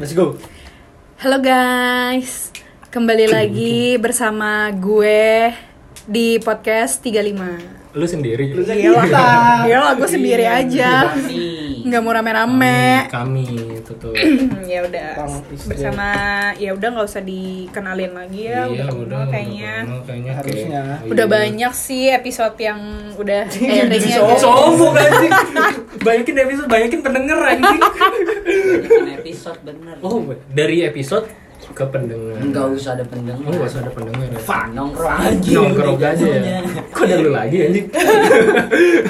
Let's go. Halo guys, kembali lagi bersama gue di podcast 35 Lu sendiri. Lu sendiri lah. Ya lah, gue sendiri Iya, Iya, aja Eh. Nih. Nggak mau rame-rame Kami itu tuh. Hmm, Ya udah, Tang istri. bersama ya udah nggak usah dikenalin lagi ya Iya, udah kenal udah kayaknya kenal kayaknya kayak- Harusnya. Udah Iya. banyak sih episode yang udah gitu. Jadi airingnya sombong. Sombong anjing. Banyakin episode, banyakin pendengar anjing. Bikin episode bener. Oh, dari episode ke pendengar. Enggak usah ada pendengar. Enggak usah ada pendengar. ya. Fuck, Nongkrong aja. Nongkrong aja ya. Kok ada lu lagi anjing?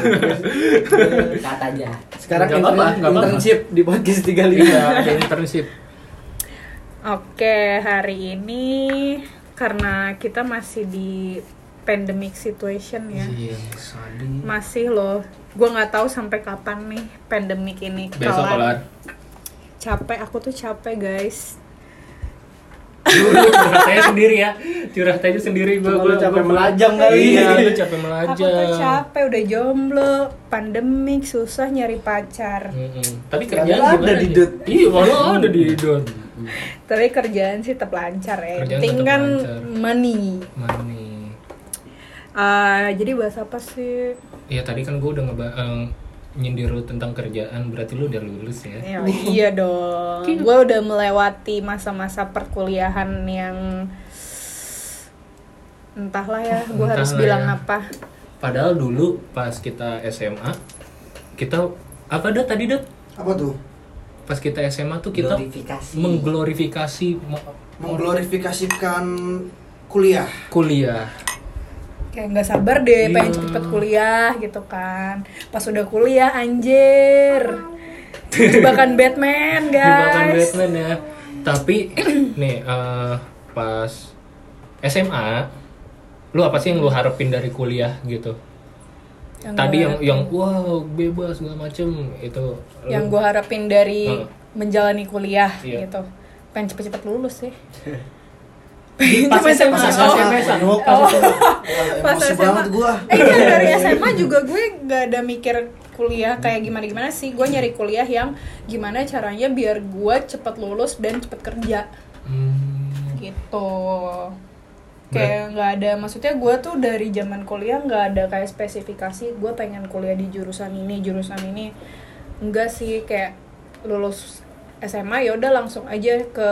Kata aja. Sekarang Nggak apa-apa, intern- nggak apa-apa. internship di podcast 35. Iya, ada internship. Oke, hari ini karena kita masih di pandemic situation ya Iya, sadis. Masih loh, gue nggak tahu sampai kapan nih pandemic ini Besok kelar. kalau capek aku tuh capek guys curhat aja sendiri ya. Curhat aja sendiri gua Cuma gua lu capek gua- melajang kali. ya. Iya, lu capek melajang. aku tuh capek udah jomblo pandemik susah nyari pacar Mm-mm. Tapi kerjaan Padahal gimana ada di nih? dot. Iya, walau ada di dot. tapi kerjaan sih tetap lancar ya Kerjaan penting tetap kan lancar. money Mana nih? Ah, jadi bahas apa sih Iya tadi kan gue udah ngeba eh, nyindir lu tentang kerjaan, berarti lu udah lulus ya? Ya, iya dong gue udah melewati masa-masa perkuliahan yang entahlah ya gue harus Entahlah bilang ya. apa Padahal dulu pas kita SMA, kita apa dah tadi dah? apa tuh Pas kita SMA tuh kita Glorifikasi. mengglorifikasi mo- mengglorifikasikan kuliah kuliah. kayak nggak sabar deh Iya. pengen cepet-cepet kuliah gitu kan pas udah kuliah anjir jebakan Batman Jebakan guys Batman ya. Tapi nih eh, pas SMA, lu apa sih yang lu harapin dari kuliah gitu? Yang tadi gua yang harapin. yang wow bebas segala macem itu. lu- yang gue harapin dari Heeh. menjalani kuliah Iya. gitu pengen cepet-cepet lulus sih pas SMA, pas SMA. Oh. Penuh, Pas emosi SMA. banget gua Oh. eh iya, dari SMA juga gue nggak ada mikir kuliah kayak gimana gimana sih gue nyari kuliah yang gimana caranya biar gue cepet lulus dan cepet kerja Hmm. gitu kayak nggak ada maksudnya gue tuh dari zaman kuliah nggak ada kayak spesifikasi gue pengen kuliah di jurusan ini jurusan ini enggak sih kayak lulus SMA ya udah langsung aja ke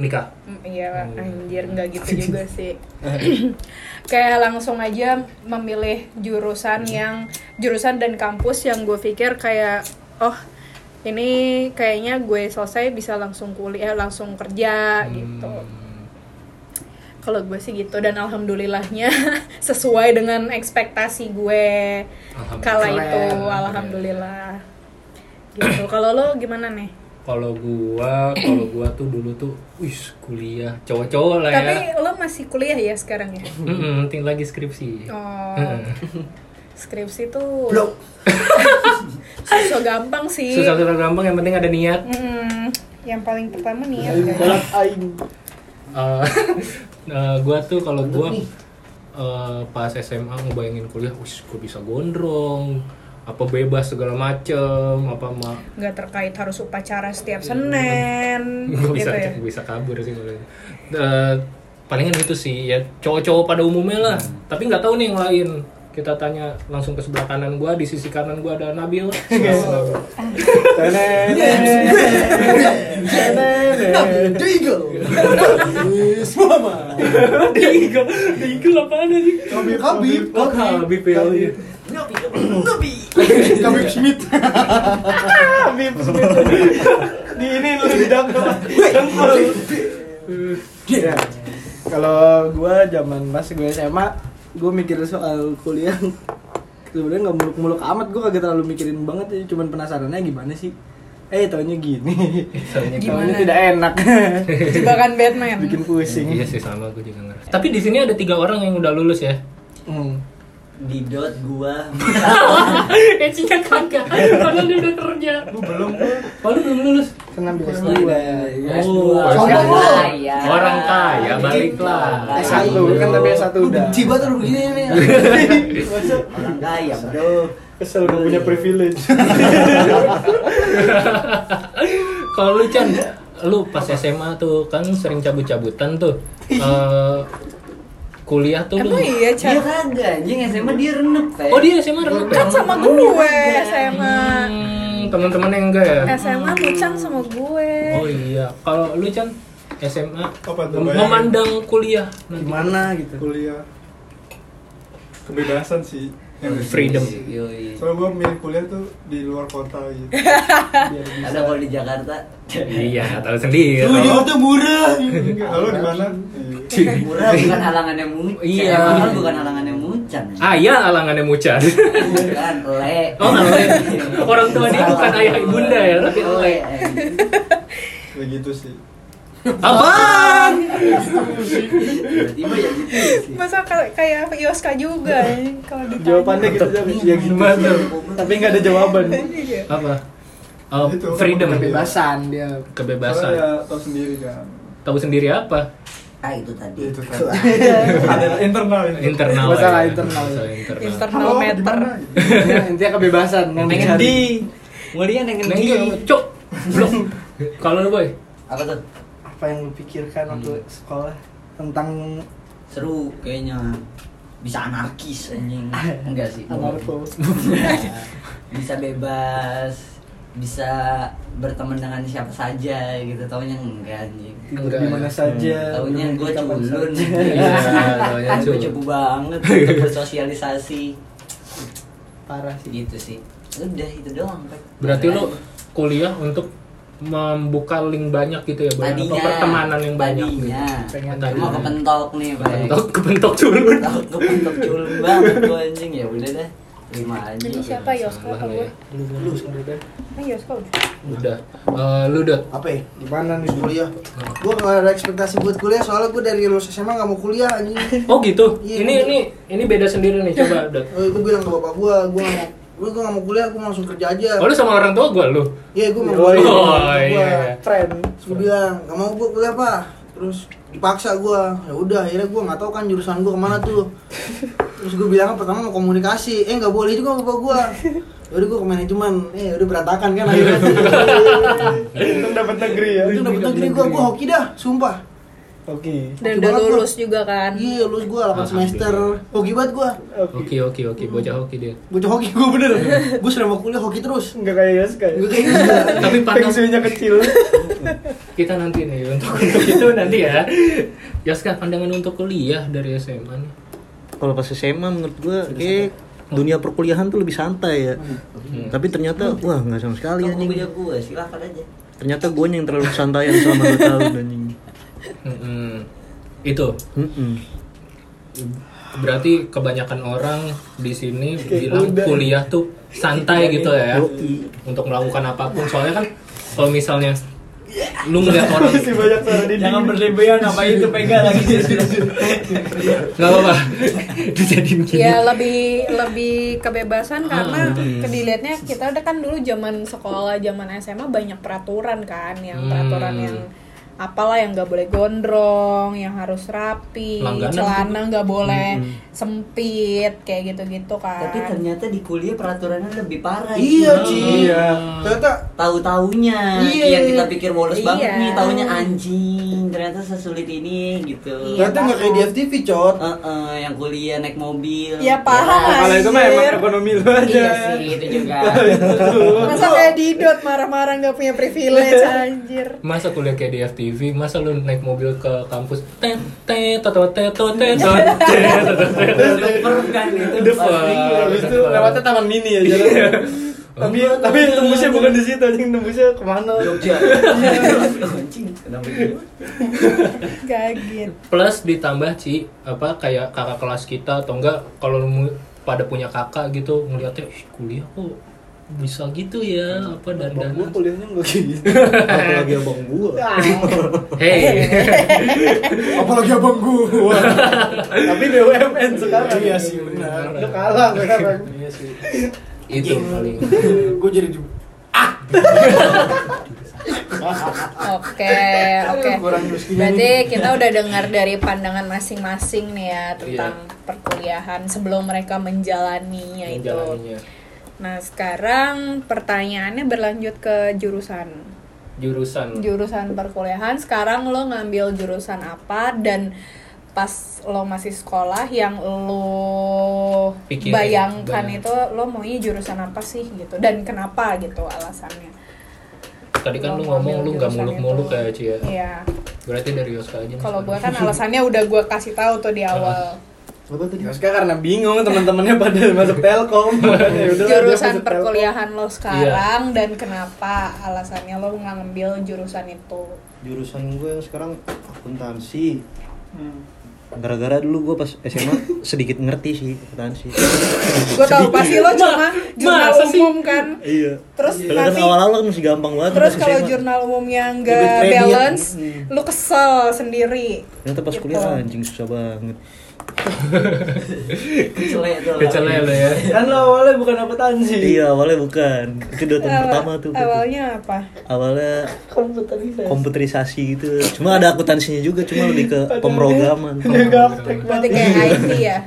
nikah mm, iya anjir nggak gitu juga sih kayak langsung aja memilih jurusan yang jurusan dan kampus yang gue pikir kayak oh ini kayaknya gue selesai bisa langsung kuliah langsung kerja gitu Hmm. kalau gue sih gitu dan alhamdulillahnya sesuai dengan ekspektasi gue Alhamdulillah. kala itu Keren. alhamdulillah gitu kalau lo gimana nih kalau gua kalau gua tuh dulu tuh wis kuliah cowok-cowok lah ya tapi lo masih kuliah ya sekarang ya Mm-mm, nanti lagi skripsi oh Mm-mm. skripsi tuh blok susah gampang sih susah-susah gampang yang penting ada niat Mm, yang paling pertama nih ya Kolak aing. Eh, eh, gua tuh kalau gua eh, pas SMA ngebayangin kuliah wis gua bisa gondrong apa bebas segala macem apa mah nggak terkait harus upacara setiap senin gue bisa gitu ya gua bisa kabur sih kalau itu. Eh, palingan itu sih ya cowok-cowok pada umumnya lah tapi nggak tahu nih yang lain kita tanya langsung ke sebelah kanan gua di sisi kanan gua ada Nabil Nabil Digo Yes mama Diego Diego apaan aja Kabib Kabib Oh Habib ya Nobi, nobi, nobi. Kabib Schmidt Di ini lu di dangkal. Dangkal. Ya. Kalau gua zaman pas gue SMA, gua mikir soal kuliah sebenarnya nggak muluk-muluk amat gua kagak terlalu mikirin banget ya cuman penasarannya gimana sih eh taunya gini Iya, Ya, Gimana? taunya tidak enak jebakan batman bikin pusing Iya sih sama gue juga ngerasa Tapi di sini ada tiga orang yang udah lulus ya Hmm. Di dot gua. Ecinya Kan kagak Padahal dia udah kerja Gua belum gua Padahal belum lulus Senam di S2 S2. Sombong lu. Kaya. Oh, Orang kaya Gitu. baliklah S1 kan tapi S1 Lu udah benci banget lu begini nih Orang kaya, bro. Kesel gak punya privilege Kalau lu Chan, lu pas SMA tuh kan sering cabut-cabutan tuh. Eh, kuliah tuh lu. Emang iya, Dia Chan? kagak anjing SMA dia renep Pe. Oh, dia SMA renep ya? Kan sama gue SMA. Hmm, teman-teman yang enggak ya? SMA lu Chan sama gue. Oh iya. Kalau lu Chan SMA Apa tuh, mem- bayangin? memandang kuliah nanti. gimana gitu kuliah kebebasan sih Iya, yang Hmm. Freedom. Yoi. soalnya gue milih kuliah tuh di luar kota gitu biar bisa Ada kalau di Jakarta. Iya, tahu sendiri. Lu Jakarta murah. Halo di mana Iya. Murah bukan halangannya Muncan. Iya. Mahal bukan halangannya Muncan. Ayah Ah, iya, alangannya mucan. Bukan le. Oh, le. Orang tua dia bukan ayah ibunda ya, tapi le. anjing. ya gitu sih Apaan? Tiba-tiba ya gitu sih. Masa kayak kayak Yoska juga ya, kalau ditanya. jawabannya gitu Jam. Gimana ya gimana tuh? tapi nggak ada jawaban Iya. Apa? Oh, Itu, freedom. kebebasan. kebebasan dia soalnya Kebebasan. Iya. ya tau sendiri kan Tahu sendiri apa? Ah itu tadi. ya itu kan ada internal Internal. Masalah ya. internal. Masalah internal. Internal Halo, di meter. mana? Ya, intinya kebebasan yang Pengen dicari. Mulia nengen Neng juga, cok. Nah, Belum. Kalau lu boy, Apa tuh? apa yang lu pikirkan waktu sekolah tentang Seru kayaknya. Bisa anarkis anjing. Enggak sih. anarko bisa bebas bisa berteman dengan siapa saja gitu taunya enggak anjing tidur di mana saja taunya gue duduk di kapan culun saja. Iya, taunya gue culun. cupu banget untuk bersosialisasi parah sih gitu sih udah itu doang Pak. berarti lu kuliah untuk membuka link banyak gitu ya, boy? Atau tadinya pertemanan yang banyak. gitu. tadinya pengen Tadi. cuma kepentok nih Pak. Kepentok, kepentok culun. kepentok kepentok culun banget gue anjing ya udah deh terima aja Jadi siapa Yoska Salah atau lu gue? ya. lu lu sebenarnya Nah, Yoska udah. Udah. Eh, lu dot. Apa ya? gimana nih dulu Kuliah. Gua gak ada ekspektasi buat kuliah soalnya gua dari lulus SMA gak mau kuliah anjing. Oh gitu. Iya. Ini ini ini beda sendiri nih coba dot. Eh, gua bilang ke bapak gua, gua gak mau gua gua gak mau kuliah, gua langsung kerja aja. Oh lu sama orang tua gua lu. Iya, gua mau Oh, kuliah. iya. Gua- iya. friend Terus gua bilang, gak mau gua kuliah, Pak. Terus dipaksa gua. Ya udah, akhirnya gua gak tahu kan jurusan gua kemana tuh. Terus gua bilang pertama mau komunikasi. Eh, gak boleh juga sama bapak gua. Ya Udah gua ke manajemen. Eh, udah berantakan kan akhirnya. untung dapat negeri Iya, ya Itu udah betul gini gua, gua hoki dah, sumpah. oke Dan Oke udah banget, lulus juga kan. Iya, lulus gua 8 semester. Hoki banget gua. oke Oke oke oke bocah hoki dia. Bocah hoki gua bener. Gua sudah mau kuliah hoki terus. nggak kayak Yos kayak Gua kayak gitu. Tapi pandang pensiunnya kecil kita nanti nih untuk, untuk itu nanti ya. Yaska pandangan untuk kuliah dari SMA nih. kalau pas SMA menurut gue kayak dunia perkuliahan tuh lebih santai ya Hmm. tapi ternyata wah nggak sama sekali kalian anjing punya gue silakan aja ternyata gue yang terlalu santai selama 2 tahun anjing Mm-mm. Hmm. Itu Mm-mm. berarti kebanyakan orang di sini bilang udah. Iya, kuliah tuh santai gitu ya. Yoi. Untuk melakukan apapun soalnya kan kalau misalnya lu ngeliat orang masih banyak suara di jangan berlebihan apa itu pegang lagi nggak apa-apa dijadiin gini Ya lebih lebih kebebasan karena Hmm. kedilihatnya kita udah kan dulu zaman sekolah zaman SMA banyak peraturan kan yang Hmm. peraturan yang apalah yang nggak boleh gondrong yang harus rapi Langganan celana gitu. nggak boleh Hmm, sempit kayak gitu-gitu kan tapi ternyata di kuliah peraturannya lebih parah Iya, cuy. Ci. Hmm. Ternyata Iya, tahu-taunya Iya. yang kita pikir bolos Iya. banget nih taunya anjing ternyata sesulit ini gitu Iya, ternyata nggak kayak di paham. FTV, cot. Eh, eh, yang kuliah naik mobil Ya, paham. Jelas. kalau itu mah emang ekonomi lu aja iya sih itu juga masa kayak didot marah-marah nggak punya privilege anjir masa kuliah kayak di FTV masa lu naik mobil ke kampus tet tet toto tet tot, tet tot, tet tot, tet, tot. Perkan itu The fuck. pasti. Iya, habis itu lewatnya taman mini ya jalan tapi tapi tembusnya bukan di situ anjing tembusnya kemana Jogja anjing kenapa gitu? kaget plus ditambah Ci apa kayak kakak kelas kita atau enggak kalau lu mu- pada punya kakak gitu ngeliatnya "Ih, kuliah kok bisa gitu ya apa dan dan gue kuliahnya nggak kayak apalagi gitu abang gue Iya. hey Apalagi abang gua. tapi BUMN sekarang Iya sih, benar. lu kalah sekarang itu Iya. paling gua jadi juga. Oke, oke. Berarti kita udah dengar dari pandangan masing-masing nih ya tentang perkuliahan sebelum mereka menjalaninya Iya, itu. jalannya Nah, sekarang pertanyaannya berlanjut ke jurusan. jurusan jurusan perkuliahan sekarang lo ngambil jurusan apa dan pas lo masih sekolah yang lo Pikirin, bayangkan bayangin. itu lo maunya jurusan apa sih gitu dan kenapa gitu alasannya tadi kan lu Lo ngomong lu ngambil nggak jurusan muluk-muluk itu. kayak Cia iya berarti dari Yoska aja nih kalau gue sekarang. kan alasannya udah gue kasih tahu tuh di awal Apa tadi? Yoska karena bingung teman-temannya pada masuk Telkom makanya udah lah, dia jurusan masuk Telkom. perkuliahan lo Iya. sekarang dan kenapa alasannya lo nggak ngambil jurusan itu Jurusan gue sekarang akuntansi. Hmm. Gara-gara dulu gue pas SMA sedikit ngerti sih akuntansi. gue tau pasti lo cuma jurnal masa sih? umum kan iya. terus Dan nanti awal-awal kan masih gampang banget. terus pas kalau SMA. jurnal umumnya Debit nggak kredit. balance Hmm. lo kesel sendiri Ternyata pas Gitu. kuliah anjing susah banget. Kecelek tuh. Kecelek lo ya Kan lo awalnya bukan akuntansi. Iya, awalnya bukan. Itu dosen Awal- pertama tuh. awalnya apa Awalnya Komputerisasi. komputerisasi gitu. Cuma ada akuntansinya juga, cuma lebih ke pemrograman. Dia gaptek berarti banget. kayak IT ya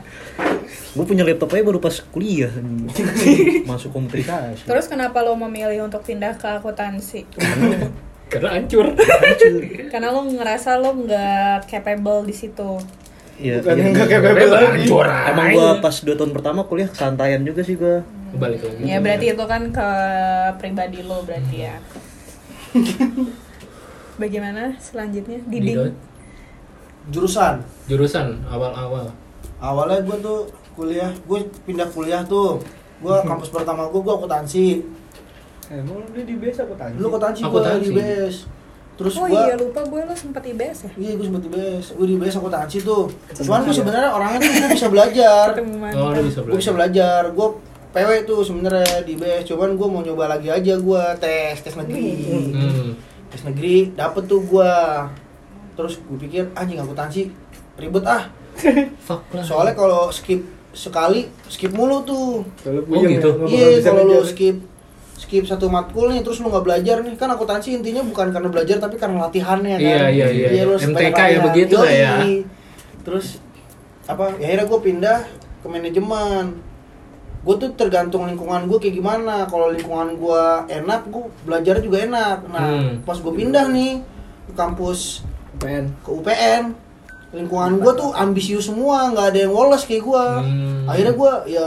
Gue punya laptop aja baru pas kuliah masuk komputerisasi. terus kenapa lo memilih untuk pindah ke akuntansi karena hancur karena lo ngerasa lo nggak capable di situ Iya. Bukan iya. yang gak capable lagi. hancur Emang gua pas 2 tahun pertama kuliah kesantaian juga sih gua. balik lagi ya berarti itu kan ke pribadi lo berarti ya bagaimana selanjutnya Dido. diding Jurusan. jurusan awal-awal awalnya gue tuh kuliah gue pindah kuliah tuh gue kampus pertama gue gue akuntansi Emang Eh, dia di base akuntansi. dulu akuntansi gue Akuntansi. di BS terus oh gue iya lupa gue lo sempat IBS ya iya gue sempet di BS gue di BS akuntansi tuh cuman gue sebenarnya orangnya tuh gue bisa belajar ketemu oh lu mantan bisa gue belajar bisa belajar gue PW tuh sebenarnya di BS cuman gue mau nyoba lagi aja gue tes tes negeri hmm. tes negeri dapet tuh gue terus gue pikir anjing akuntansi ribet ah fuck lah soalnya kalau skip sekali skip mulu tuh Kalau Oh, gitu. ya, gua bakal Iya, bisa kalau lu ngejar. skip skip satu matkul nih terus lu nggak belajar nih kan akuntansi intinya bukan karena belajar tapi karena latihannya kan. Iya, iya, iya. lu MTK sebanyak ya latihan. begitu lah ya. Yoi. Terus apa? Ya akhirnya gue pindah ke manajemen. Gue tuh tergantung lingkungan gue kayak gimana. Kalau lingkungan gue enak, gue belajar juga enak. Nah, Hmm. pas gue pindah nih ke kampus PN. ke UPN lingkungan gue tuh ambisius semua nggak ada yang woles kayak gue Hmm. akhirnya gue ya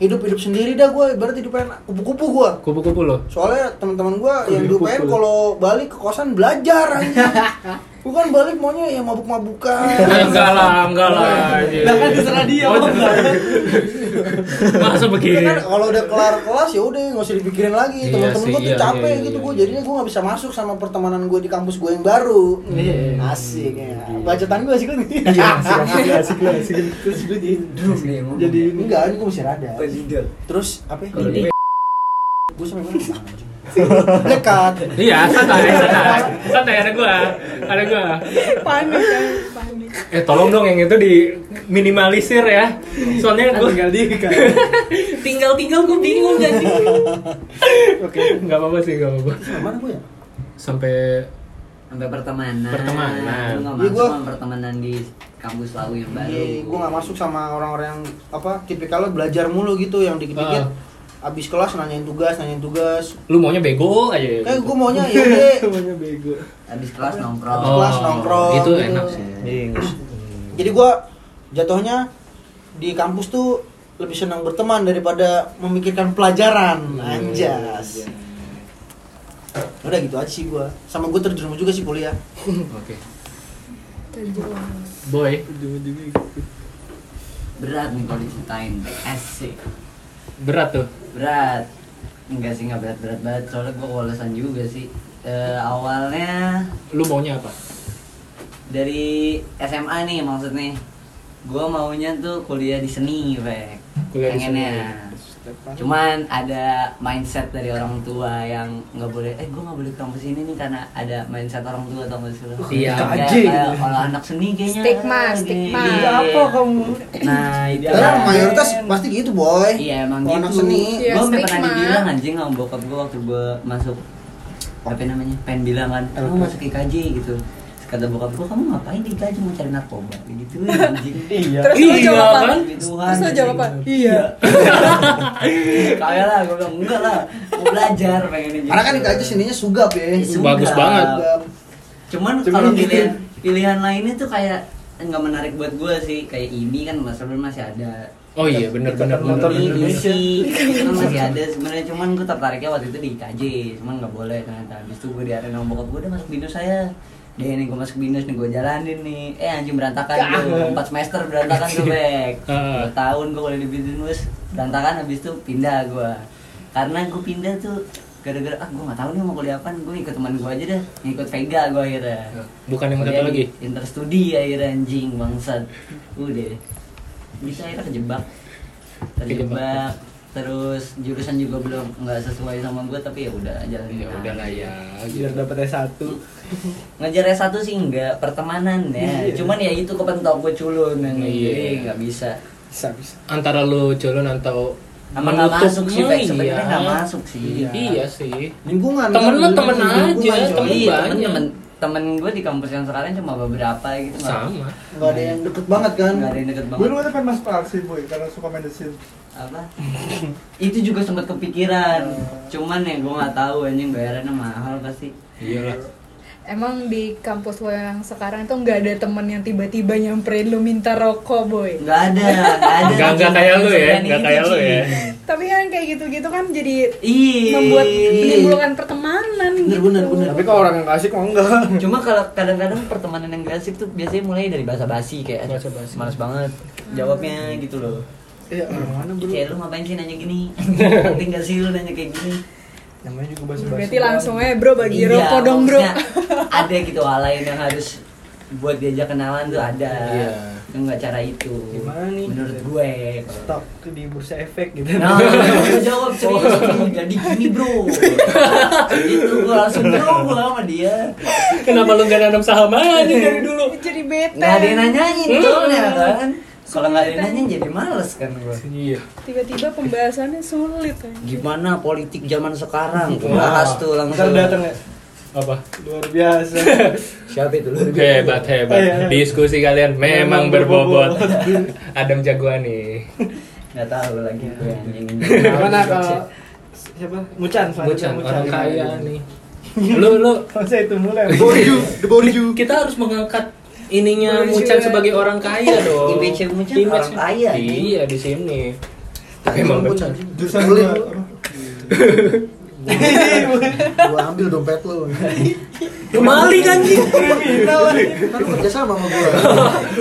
hidup hidup sendiri dah gue berarti di UPN kupu-kupu gue kupu-kupu lo soalnya teman-teman gue yang di dipukul. UPN kalau balik ke kosan belajar aja bukan balik maunya ya mabuk-mabukan Eh, enggak lah enggak lah anjir. Lah kan terserah dia. Oh, Bang. masa Iya begini kan kalau udah kelar kelas ya udah nggak usah dipikirin lagi Iya teman-teman sih, gue tuh iya, capek iya, gitu iya, gue iya. jadinya gue nggak bisa masuk sama pertemanan gue di kampus gue yang baru Iya. asik ya bacotan gue asik lagi Iya, asik, asik, asik, asik, asik. Terus gue jadi Drum dia ngomong. jadi ini enggak ini gue masih rada Iya. Presiden. terus apa Kalau ya? di- gue sampai mana dekat iya santai santai santai ada gua ada gua panik kan panik eh tolong dong yang itu diminimalisir ya soalnya gua tinggal di kan. Tinggal tinggal gue bingung gak sih? Oke. nggak apa-apa sih nggak apa-apa mana gue ya sampai Sampai pertemanan. Pertemanan. Lu nggak Iya, masuk gua- sama pertemanan di kampus lalu yang baru. Iya, gue nggak masuk sama orang-orang yang apa tipikalnya belajar mulu gitu yang dikit-dikit Ah. abis kelas nanyain tugas nanyain tugas lu maunya bego aja ya, eh gitu. gue maunya ya deh Semuanya bego. Abis kelas Iya. nongkrong. Oh. Abis kelas nongkrong, itu gitu. enak sih Iya, nggak usah. jadi gue jatuhnya di kampus tuh lebih senang berteman daripada memikirkan Iya, pelajaran anjas udah gitu aja sih gue sama gue terjerumus juga sih kuliah oke boy Ujung-ujungnya gitu. Berat nih kalau diceritain. Asik. berat tuh Berat. Enggak sih nggak berat-berat banget. Soalnya gue kewalesan juga sih. Eh, awalnya lu maunya apa dari SMA nih maksudnya. Gue maunya tuh kuliah di seni, Pak. Kuliah di Pengennya. Stefan. Cuman ada mindset dari orang tua yang nggak boleh, eh gue nggak boleh ke kampus ini nih karena ada mindset orang tua atau nggak sih? lo? Iya, Kayak, anjing. eh, Kalau anak seni kayaknya. Stigma, eh, stigma. gini. Iya. Apa kamu? Nah itu. karena mayoritas pasti gitu boy Iya emang Kalau gitu. anak seni Iya, Gue pernah stigma. dibilang anjing sama bokap gue waktu gue masuk apa namanya pengen bilang kan, Apa? kamu masuk IKJ gitu. kata bokap gua kamu ngapain digaji mau cari narkoba gitu anjing Iya. Terus lu Iya, jawab apa? kan? gitu, Terus lu jawab apa? Iya. Kagak lah, gue bilang enggak lah, mau belajar pengen gitu. Karena kan nggak itu sininya sugap ya. Iya, sugap. Bagus banget. Sugap. Cuman Cuman kalau gitu. pilihan pilihan lainnya tuh kayak eh, nggak menarik buat gue sih kayak ini kan mas sebenarnya masih ada Oh iya, bener, bener, Motor bener, ini bener. sih kan masih ada sebenarnya cuman gue tertariknya waktu itu di KJ cuman nggak boleh ternyata habis itu gue diarahin sama bokap gue udah masuk binus saya deh nih gue masuk binus nih gue jalanin nih eh anjing berantakan gue empat semester berantakan gue back Ah. Dua tahun gue kuliah di binus berantakan habis itu pindah gue karena gue pindah tuh gara-gara ah gue nggak tahu nih mau kuliah apa gue ikut teman gue aja dah ikut Vega gue akhirnya Bukan yang satu Kuliah lagi. di interstudi akhirnya anjing bangsat udah bisa akhirnya kejebak terjebak terus jurusan juga belum nggak sesuai sama gue tapi ya udah jalan Ya udah lah ya. biar dapat S1 ngejar S1 sih enggak pertemanan ya cuman ya itu kepentok gue culun yang Iya. jadi nggak bisa bisa bisa Antara lu culun atau sama nggak menutup masuk sih Fek. iya. sebenarnya nggak masuk sih Iya. Iya sih. Lingkungan. Temen kan? lu temen Lingkungan, aja, coy. temen iya temen banyak. temen temen gue di kampus yang sekarang cuma beberapa gitu nggak- Sama. Nggak ada yang deket banget kan. nggak ada yang deket Gue banget dulu kan pengen masuk arsi boy karena suka main desin. apa itu juga sempat kepikiran cuman ya gue nggak tahu anjing bayarannya mahal pasti Iyalah. Emang di kampus lo yang sekarang tuh nggak ada temen yang tiba-tiba nyamperin lu minta rokok, boy. nggak ada nggak ada Nggak- nggak kayak lu ya, Sebenarnya nggak itu, kayak lu Ci. ya. Tapi kan kayak gitu-gitu kan jadi Ih. membuat Iya. menimbulkan pertemanan Bener, gitu. bener, bener. tapi kalau orang yang asik mah enggak cuma kalau kadang-kadang pertemanan yang gasip tuh biasanya mulai dari bahasa basi kayak bahasa basi males banget jawabnya gitu loh iya orang mana bro kayak lu ngapain sih nanya gini penting gak sih lu nanya kayak gini namanya juga bahasa Berarti langsung aja bro bagi Iya, rokok dong bro. maksudnya ada gitu hal lain yang harus buat diajak kenalan tuh ada Iya. enggak cara itu Gimana nih? menurut gue stop di bursa efek gitu Nah, gue jawab serius nih, jadi gini bro Itu gue langsung bro gue sama dia Kenapa lu gak nanam saham aja dari dulu? Jadi bete. Gak ada yang nanyain Hmm. soalnya kan Kalau gak ada yang nanyain jadi males kan gue Iya. Tiba-tiba pembahasannya sulit. anjing. Gimana politik zaman sekarang Gua bahas tuh ntar langsung datang ya Apa? luar biasa Siapa itu lu? Hebat hebat. Iya, iya. Diskusi kalian memang Memang berbobot. Adam jagoan nih. Gak tau lagi gue anjing gimana kalau siapa Mucan selanjutnya, Bucan orang Gimana? kaya nih. Lu lu kalau saya itu mulai Borju, the Borju. kita harus mengangkat ininya Borju. Mucan sebagai orang kaya dong. Image Mucan Image- orang kaya, anjing. Iya di sini. Tapi emang bener. Jurusan Beli. gue Gua ambil dompet lu. Kembali kan Kan lu kerja sama sama gua.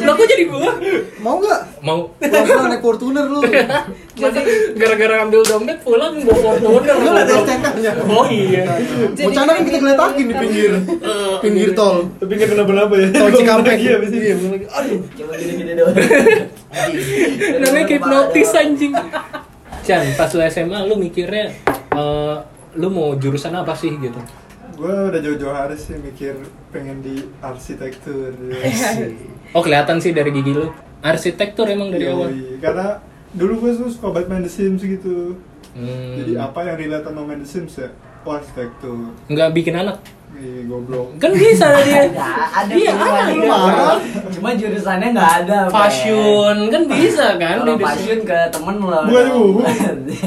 Lah kok jadi gua? Mau nggak? Mau Pulang naik Fortuner lu. Masa gara-gara ambil dompet pulang bawa Fortuner Lu ada STNK-nya. Oh iya Jadi gitu. Nah, Wacana kan kita geletakin di pinggir pinggir tol. tapi nggak kenapa-napa ya Tol Cikampek. iya abis ini Cuma gini-gini doang Namanya hipnotis anjing Chan, pas lu SMA lu mikirnya eh, Lu mau jurusan apa sih gitu Gue udah jauh-jauh hari sih mikir pengen di arsitektur. Oh kelihatan sih dari gigi lu Arsitektur emang dari awal Yoi, Karena dulu gue tuh suka banget main The Sims gitu. Hmm. Jadi apa yang relate sama main The Sims ya? Oh, arsitektur. Nggak bikin anak Ih, goblok. Kan bisa dia Ada, ada Iya pilihan ada itu. Cuma jurusannya nggak ada Pak. Fashion Kan bisa kan Kalau di- fashion ke temen lo Iya. Bukannya uhu.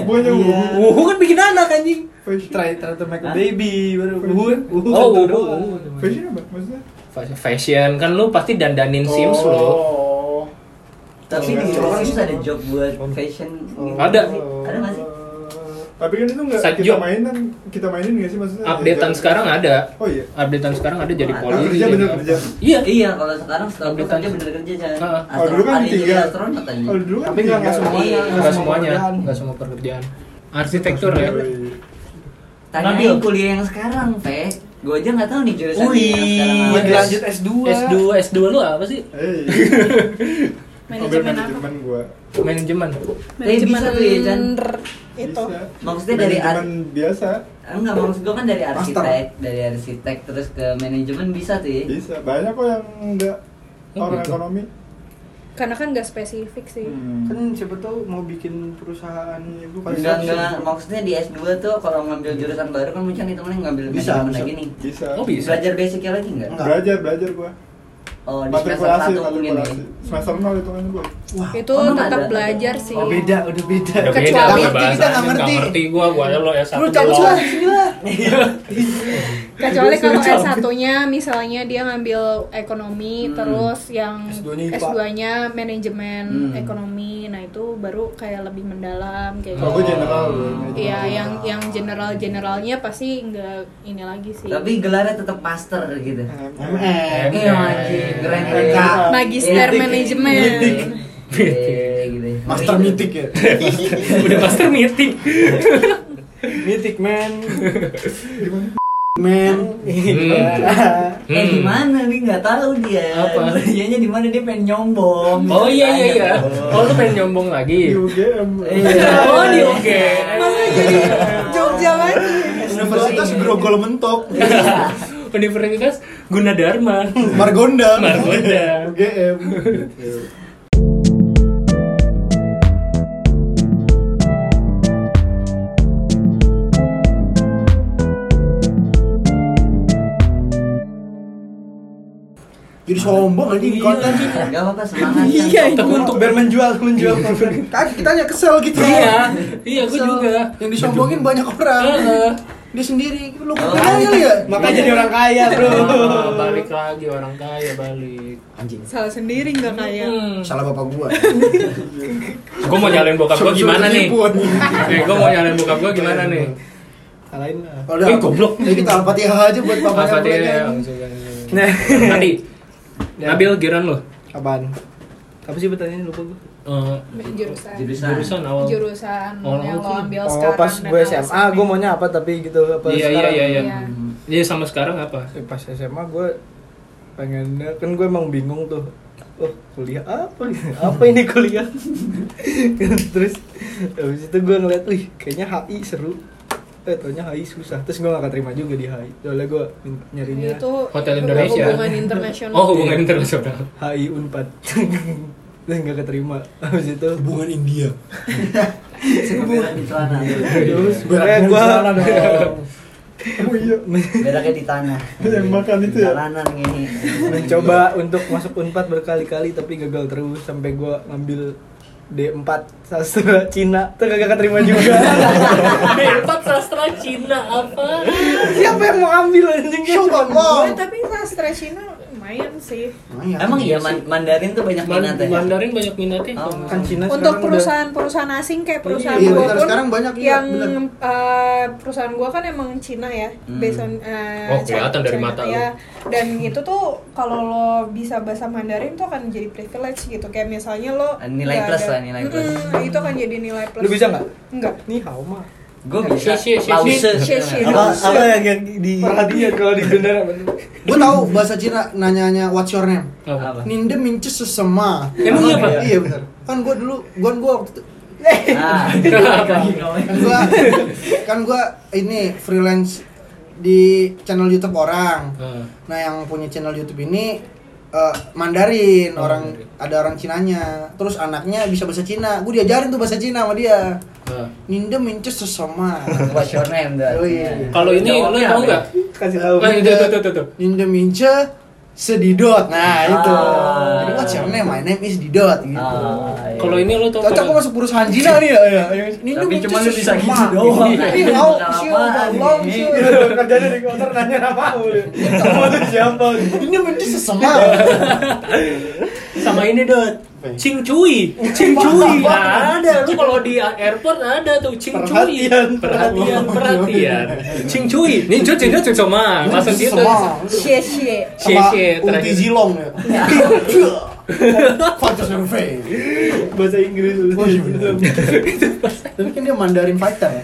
Bukannya uhu. Wuhu kan bikin anak anjing Fashion. try try to make a baby baru uhu uhu Oh, satu uhu, doang. uhu. Fashion apa? Maksudnya? Fashion- Fashion Kan lu pasti dandanin Sims lu Oh. Tapi di Oh, jurusan iya. itu ada job buat fashion gitu. Oh. Ada. Ada nggak sih? Tapi kan itu nggak Side kita job. mainan, kita mainin nggak sih maksudnya? Updatean Ya, sekarang ada Oh iya. Updatean sekarang ada jadi Ah, polisi kerja jadi bener apa. kerja. Iya Iya, kalau sekarang setelah Update gue kerja aja. bener kerja Chan. Ah. Oh, dulu Astronot, kan ada tiga. juga astronot tadi. Oh, dulu kan tapi nggak nggak tinggal- semuanya Iya. Enggak nggak semua semuanya, pekerjaan. enggak semua pekerjaan. Arsitektur ya. Yoi. Tanyain Nabil. kuliah yang sekarang, Pe. Gue aja nggak tahu nih jurusan Wih, yang sekarang. apa. lagi Iya, lanjut S2. S2, S2 lu apa sih? Hey. Ambil Manajemen apa? manajemen gua. Manajemen. Tapi bisa tuh ya, Chan. itu. Bisa. Maksudnya dari ar- manajemen biasa. Enggak, maksud gue kan dari Master. arsitek, dari arsitek Iya, terus ke manajemen bisa tuh ya. Bisa. Banyak kok yang nggak Oh, orang gitu. ekonomi. Hmm. karena kan nggak spesifik sih kan siapa tahu mau bikin perusahaan itu kan Enggak, enggak, maksudnya di S2 tuh kalau ngambil jurusan baru kan mungkin itu mending ngambil Bisa, manajemen bisa. lagi nih bisa Oh, bisa. Belajar basicnya lagi enggak? Enggak. belajar belajar gua Oh, di semester matrikulasi 1 mungkin ya matrikulasi semester nol itu kan gua Wah, itu emang tetap oh, ada? belajar sih oh beda, udah beda. Udah Kecuali- beda Kita udah bahasanya, nggak ngerti. nggak ngerti gua, gua aja lo ya satu Lu cabut lah, doang. sini lah. kecuali kalau Gua suruh S 1 nya misalnya dia ngambil ekonomi Hmm. terus yang S2 -nya IPA. S 2 nya manajemen Hmm. ekonomi nah itu baru kayak lebih mendalam kayak kalau Oh. gua gitu general gua, Iya, general. yang yang general generalnya pasti nggak ini lagi sih. Tapi gelarnya tetap master gitu MM. Iya, anjing, keren keren Iya. Magister Iya. manajemen. Iya, gitu. Master mitik ya. udah master meeting mythic man Men. Eh Hmm. di mana nih nggak tahu dia. Apa? Dianya di mana dia pengen nyombong. oh iya iya iya Tanya. oh lu pengen nyombong lagi di UGM Iya. oh di oke Iya. Jogja kan? lagi Universitas Grogol mentok. Universitas Gunadarma Margonda. Margonda UGM Jadi sombong Iya. anjing konten. Gak apa-apa semangat. Iya, kan. itu untuk biar menjual menjual konten. Kan kita hanya kesel gitu. iya iya gua juga Yang disombongin banyak orang. Heeh. Dia sendiri lu kok aja lu ya. makanya jadi orang kaya bro Ah, balik lagi orang kaya balik Anjing. Salah sendiri nggak kayak. Hmm. Salah bapak gua. Gua mau nyalain bokap gua gimana nih? Suruh nipu, anjing. Eh, gua mau nyalain bokap gua gimana nih? lain lah Udah. Ih, goblok. iya. Jadi kita Al-Fatihah aja buat papanya. Apa mulainya. dia? nah Nanti. Nabil giran lo. apaan apa sih pertanyaannya lupa gue Eh, Jurusan. Jurusan. jurusan awal. Jurusan Oh, yang lo oke. ambil oh sekarang. pas dan gue alasannya. SMA gue maunya apa tapi gitu apa Iya iya sekarang? iya iya. Iya. Iya sama sekarang apa? Eh, pas SMA gue pengennya kan gue emang bingung tuh oh kuliah apa nih? apa ini kuliah Kan terus habis itu gue ngeliat wih kayaknya HI seru eh taunya HI susah terus gue gak terima juga di HI soalnya gue nyarinya Itu Hotel Indonesia. Hubungan internasional. Oh hubungan internasional. HI Unpad dan gak keterima habis itu Hubungan India. Suka berak di celana. iya. terus Beratnya sebenarnya di gue celana dong. oh iya Beraknya di tanah. Yang makan itu Di ya? Jalanan ini. mencoba untuk masuk Unpad berkali-kali tapi gagal terus sampai gue ngambil D4 sastra Cina tuh kagak keterima juga Empat sastra Cina apa? Siapa yang mau ambil anjing? Shoot on Gue long. tapi sastra Cina lumayan sih. Nah, Emang iya Man- Mandarin tuh banyak minat ya. Mandarin banyak minatnya. Oh. Kan Cina Untuk sekarang perusahaan-perusahaan asing kayak perusahaan Iya, gua benar. pun Sekarang banyak, iya, yang benar. eh, perusahaan gua kan emang Cina ya, Hmm. based on eh, Oh, kelihatan dari mata lu. ya. Dan itu tuh kalau lo bisa bahasa Mandarin tuh akan jadi privilege gitu. Kayak misalnya lo Nilai nggak plus ada- lah, nilai plus. Mm-mm, nah, itu akan jadi nilai plus. Lu bisa nggak? Enggak. Ni hao ma. Gue bisa. Shi- shi- shi- Lause. shi- shi. Apa? apa yang, yang di perhatian kalau di bendera Gue tahu bahasa Cina nanyanya what's your name? Apa? Ninde mince sesama. Emang iya, Pak? Iya benar. Kan gue dulu, gue gue waktu itu- Ah. kan gue kan gue ini freelance di channel YouTube orang. Ah. Nah yang punya channel YouTube ini eh, Mandarin, Oh, orang Mandarin. ada orang Cinanya. Terus anaknya bisa bahasa Cina. Gue diajarin tuh bahasa Cina sama dia. Ah. Ninde mince sesama. What's your name dah? Oh, iya. Kalau ini lo tahu Jawabnya apa ya? nggak? kasih tahu. Ah, itu tuh tuh tuh. tuh. Ninde mince sedidot. Nah, itu. Ah. Jadi what's your name? My name is Didot gitu. Ah, iya. Kalau ini lo tahu. Cocok gua masuk perusahaan Cina nih ya. ya. Ninde Tapi mince cuma lu bisa sesama. gitu doang. Iya, mau Kenapa, siu, belum anjing? siu. Kerjanya di counter nanya nama lu. Kamu tuh siapa? Ninde mince sesama. sama ini dot Cing cuy, cing cuy, ada. Lu kalau di airport ada tuh cing cuy, Perhatian. perhatian, perhatian, cing cuy, ninjo cinta cuy sama, Ah, masuk situ, Sesama. Xie xie. Xie sama Xie, Ulti terakhir. Zilong ya. Fighter Survey. Bahasa Inggris lu. Oh, iya, bener. Tapi kan dia Mandarin fighter ya.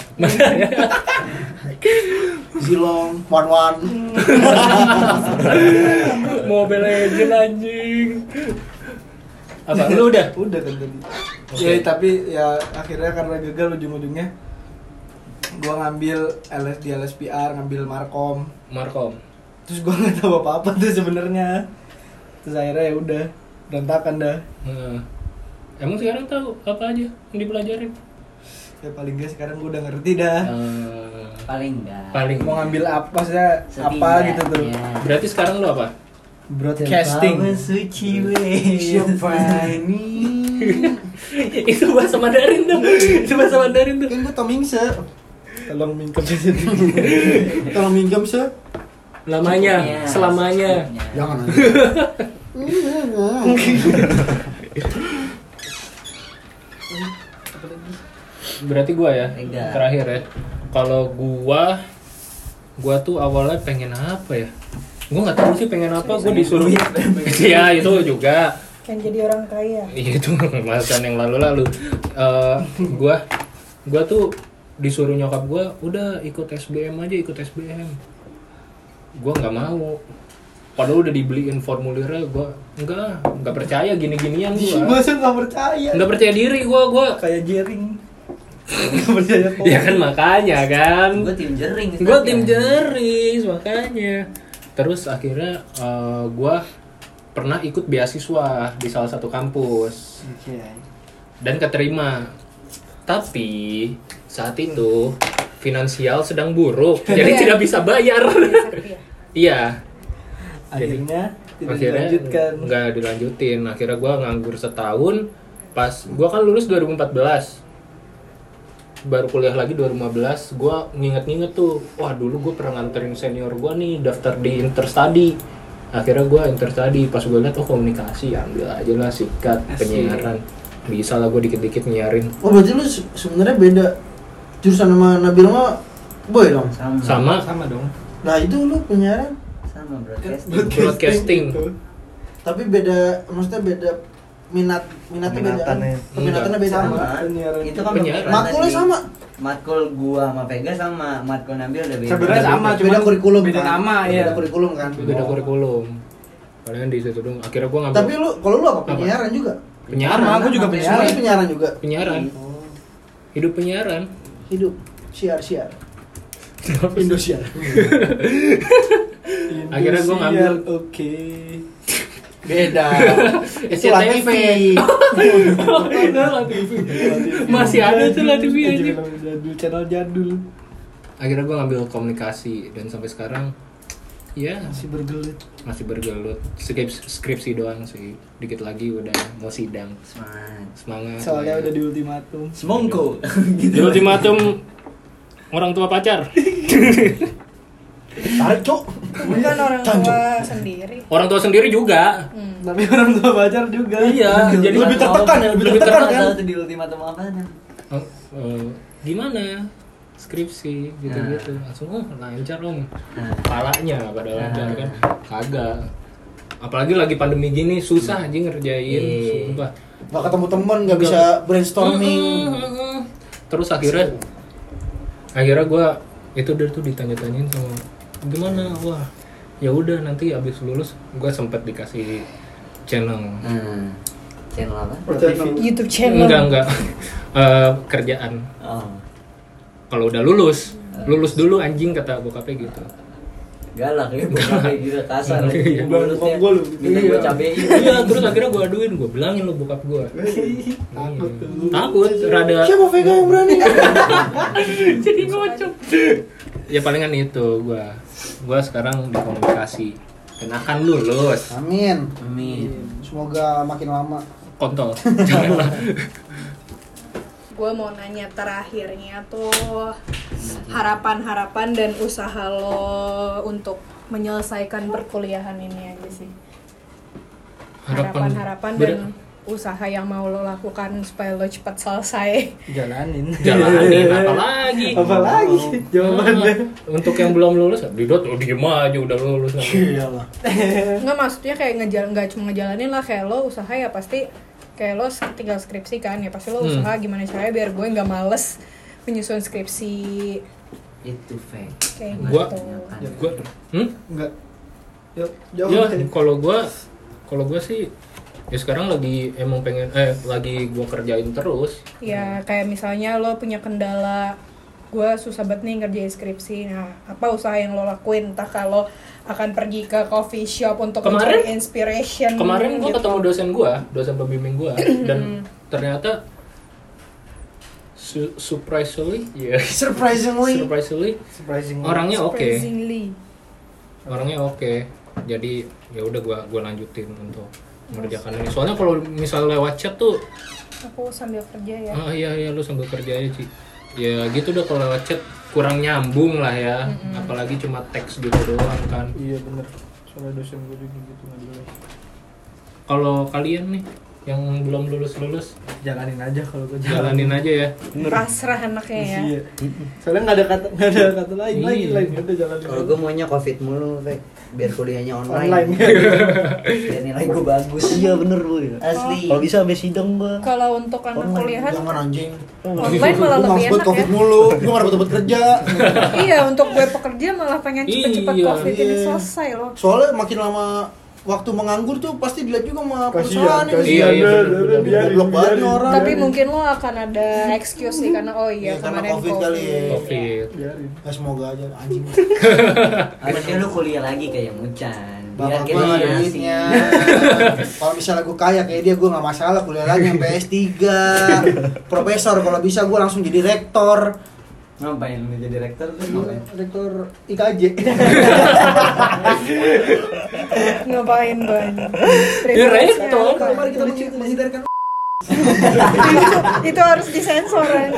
Zilong, Wan Wan. Mobile Legend anjing. Apa lu udah? Udah kan tadi. Oke. Ya, tapi ya akhirnya karena gagal ujung-ujungnya gua ngambil LS di LSPR, ngambil Markom. Markom. Terus gua nggak tahu apa-apa tuh sebenarnya. Terus akhirnya ya udah berantakan dah Nah, emang sekarang tahu apa aja yang dipelajarin? ya paling gak sekarang gue udah ngerti dah Eh, paling enggak paling. mau ngambil apa maksudnya apa ya, gitu tuh iya. Setidaknya. Berarti sekarang lo apa? broadcasting Bawa suci wes Iya, itu bahasa Mandarin dong. itu bahasa Mandarin tuh. kan gue toming se tolong mingkem di situ tolong minjem se Lamanya, Iya, Cukupnya, selamanya. secukupnya. jangan aja Berarti gua ya. Enggak. Terakhir ya. Kalau gua gua tuh awalnya pengen apa ya? Gua nggak tahu sih pengen apa, gua disuruh. Iya, itu juga. Kan jadi orang kaya. Iya itu pembahasan yang lalu-lalu. Eh, gua gua tuh disuruh nyokap gua udah ikut SBM aja ikut SBM. Gua nggak mau. Padahal udah dibeliin formulirnya gua enggak nggak percaya gini-ginian gua. masa gak percaya Nggak percaya diri gua gua. kayak jering gak percaya kok Ya kan makanya kan. gue tim jering ya. Gue tim tapi. Jeris makanya. Terus akhirnya eh, gua pernah ikut beasiswa di salah satu kampus. dan keterima. Tapi saat itu finansial sedang buruk, jadi Iya. tidak bisa bayar. Iya, akhirnya tidak akhirnya dilanjutkan nggak dilanjutin. Akhirnya gua nganggur setahun. Pas gua kan lulus 2014 baru kuliah lagi 2015 gua nginget-nginget tuh wah dulu gue pernah nganterin senior gua nih daftar di interstudy akhirnya gua interstudy pas gue liat oh komunikasi ambil aja lah sikat penyiaran bisa lah gue dikit-dikit nyiarin oh berarti lu se- sebenarnya beda jurusan sama Nabil mah boy dong sama sama sama dong nah itu lu penyiaran sama broadcasting broadcasting tapi beda maksudnya beda minat minatnya beda kan? Peminatannya. peminatannya beda sama kan? Penyiaran. itu kan Penyiaran. pembicaraan makulnya tadi. sama matkul gua sama Vega sama matkul Nabil udah beda Sebenarnya sama, beda cuman kurikulum beda kan? nama, iya. beda kurikulum kan beda kurikulum kalian di situ dong akhirnya gue ngambil tapi lu kalau lu apa penyiaran juga penyiaran Iya. Sama, aku juga semuanya penyiaran penyiaran juga penyiaran Oh. hidup penyiaran hidup siar siar Indonesia Akhirnya gua ngambil. oke beda itu SCTV. lah TV Udah lah TV. masih ada tuh lah TV aja jadul channel jadul akhirnya gue ngambil komunikasi dan sampai sekarang ya masih bergelut masih bergelut skripsi, skripsi doang sih dikit lagi udah mau sidang Smart. semangat Iya. soalnya udah di ultimatum semongko di ultimatum orang tua pacar tarik cok Bukan Kan orang tua sendiri. orang tua sendiri juga Hmm. tapi orang tua pacar juga iya jadi lebih tertekan ya lebih tertekan kan tuh di ultimatum apa kan Oh, eh, gimana skripsi gitu-gitu langsung oh lancar om Nah, palanya pada lancar kan kagak apalagi lagi pandemi gini susah aja ngerjain Iya. sumpah nggak ketemu temen nggak bisa brainstorming Mm-mm. terus akhirnya akhirnya gua itu dia tuh ditanya-tanyain sama gimana wah ya udah nanti abis lulus gua sempet dikasih channel Hmm. channel apa Iya. YouTube channel. enggak enggak Eh, kerjaan oh kalau udah lulus lulus dulu anjing kata bokapnya gitu galak ya bukan kayak gitu kasar Iya. mulutnya Gua lu. minta gua cabein iya terus akhirnya gue aduin gue bilangin lo bokap gue takut takut rada Ya, siapa Vega yang berani Jadi ngocok. ya palingan itu gue gue sekarang di komunikasi dan akan lulus amin amin semoga makin lama kontol janganlah Gue mau nanya terakhirnya tuh harapan-harapan dan usaha lo untuk menyelesaikan perkuliahan ini aja sih. Harapan-harapan dan Ber- usaha yang mau lo lakukan supaya lo cepat selesai. jalanin jalanin apa lagi apa lagi jawabannya untuk yang belum lulus didot lo diem aja udah lulus Iya, iyalah Enggak maksudnya kayak ngejal nggak cuma ngejalanin lah kayak lo usaha ya pasti kayak lo sk- tinggal skripsi kan ya pasti lo Hmm. usaha gimana caranya biar gue nggak males menyusun skripsi itu fake kayak Gua- gitu. gue hmm? enggak yuk ya jawab kalau gue kalau gue sih ya sekarang lagi emang pengen eh lagi gue kerjain terus Ya kayak misalnya lo punya kendala gue susah banget nih ngerjain skripsi nah apa usaha yang lo lakuin entah kalau akan pergi ke coffee shop untuk Kemarin- mencari inspiration kemarin gue gitu. ketemu dosen gue dosen pembimbing gue dan ternyata su- surprisingly ya Surprisingly. surprisingly surprising orangnya oke Surprisingly. orangnya oke jadi ya udah gua gua lanjutin untuk mengerjakan ini soalnya kalau misal lewat chat tuh aku sambil kerja ya ah iya iya lu sambil kerja aja Ci." ya gitu udah kalau lewat chat kurang nyambung lah ya apalagi cuma teks gitu doang kan iya bener soalnya dosen gue juga gitu nggak boleh kalau kalian nih yang belum lulus lulus jalanin aja kalau gue jalan jalanin aja ya iya. pasrah anaknya ya iya soalnya nggak ada kata nggak ada kata lain lagi Iya. lain udah jalanin Kalau gue maunya covid mulu, Fek. biar kuliahnya online. online Biar nilai gue bagus. Iya bener ya. gue. Asli. Kalau bisa sampai sidang gue. kalau untuk anak Online. kuliahan Oh, Jangan anjing. online malah lebih Gue malas buat enak ya covid mulu. Gue gak dapet-dapet kerja. iya untuk gue pekerja malah pengen cepet-cepet Iya, covid ini iya. selesai loh Soalnya makin lama waktu menganggur tuh pasti dilihat juga sama kasihan perusahaan ini. Iya, iya, bener, bener, bener, bener. biarin, Goblok banget biarin. nih orang. tapi mungkin lo akan ada excuse nih karena oh iya Iya, karena kemarin COVID kali ya. covid biarin Ya semoga aja anjing. Harusnya lu kuliah lagi kayak Mucan. Biar Bapak kita gua ada ngasih. duitnya. kalau misalnya gue kaya kayak dia gue nggak masalah kuliah lagi sampai S3 profesor kalau bisa gue langsung jadi rektor Ngapain lu jadi rektor tuh? Ngapain? rektor IKJ ngapain banyak Iya, rektor. kemarin kita menci- menyadarkan itu harus disensor ya. Ren.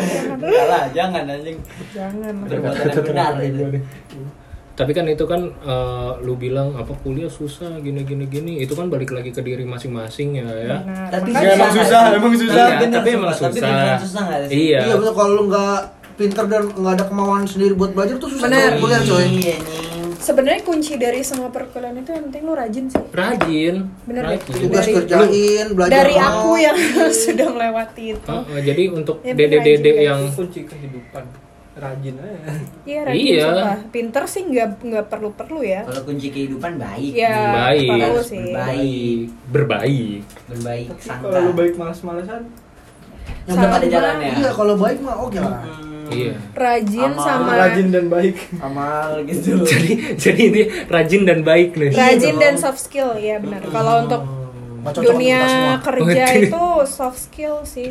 Salah, jangan anjing. jangan Perbuatan yang benar itu. Iya. tapi kan itu kan eh, lu bilang apa kuliah susah gini gini gini itu kan balik lagi ke diri masing-masing ya ya Benar. Tapi Nah, Makanya- kan Ya, emang susah, emang susah. Iya, Tapi emang susah. Tapi susah. beneran susah nggak sih? Iya. iya betul kalau lu nggak pinter dan nggak ada kemauan sendiri buat belajar tuh susah Bener. banget kuliah coy Iya nih. sebenarnya kunci dari semua perkuliahan itu yang penting lo rajin sih rajin Bener deh. rajin tugas Dari- kerjain belajar Oh. dari mau. aku yang sudah melewati itu Heeh, jadi untuk Ya, dede-dede rajin, guys. yang kunci kehidupan rajin aja iya rajin Iya. sumpah. pinter sih nggak nggak perlu perlu ya Kalau kunci kehidupan baik. Iya, Baik. perlu sih. Baik. berbaik Berbaik tapi sangka. kalau lu baik malas-malasan Yang udah pada Sama. jalannya. iya kalau baik mah oke lah iya Rajin Amal. sama rajin dan baik Amal gitu. jadi jadi ini rajin dan baik nih rajin dan soft skill ya benar. Kalau untuk Macam dunia kita semua. kerja Oke. itu soft skill sih.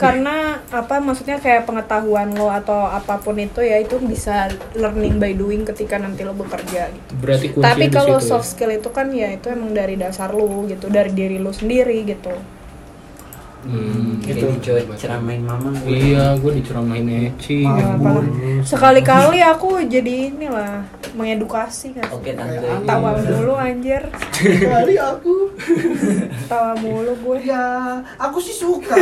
Karena apa maksudnya kayak pengetahuan lo atau apapun itu ya itu bisa learning by doing ketika nanti lo bekerja gitu. berarti kunci Tapi kalau soft skill itu kan ya itu emang dari dasar lo gitu, dari diri lo sendiri gitu. Jadi coy ceramain Gitu. mama. iya gue diceramahin Eci Nggak apa-apa. Sekali-kali aku jadi inilah mengedukasi kan. Oke tante. Tawa mulu anjir, dari aku tawa mulu gue. ya aku sih suka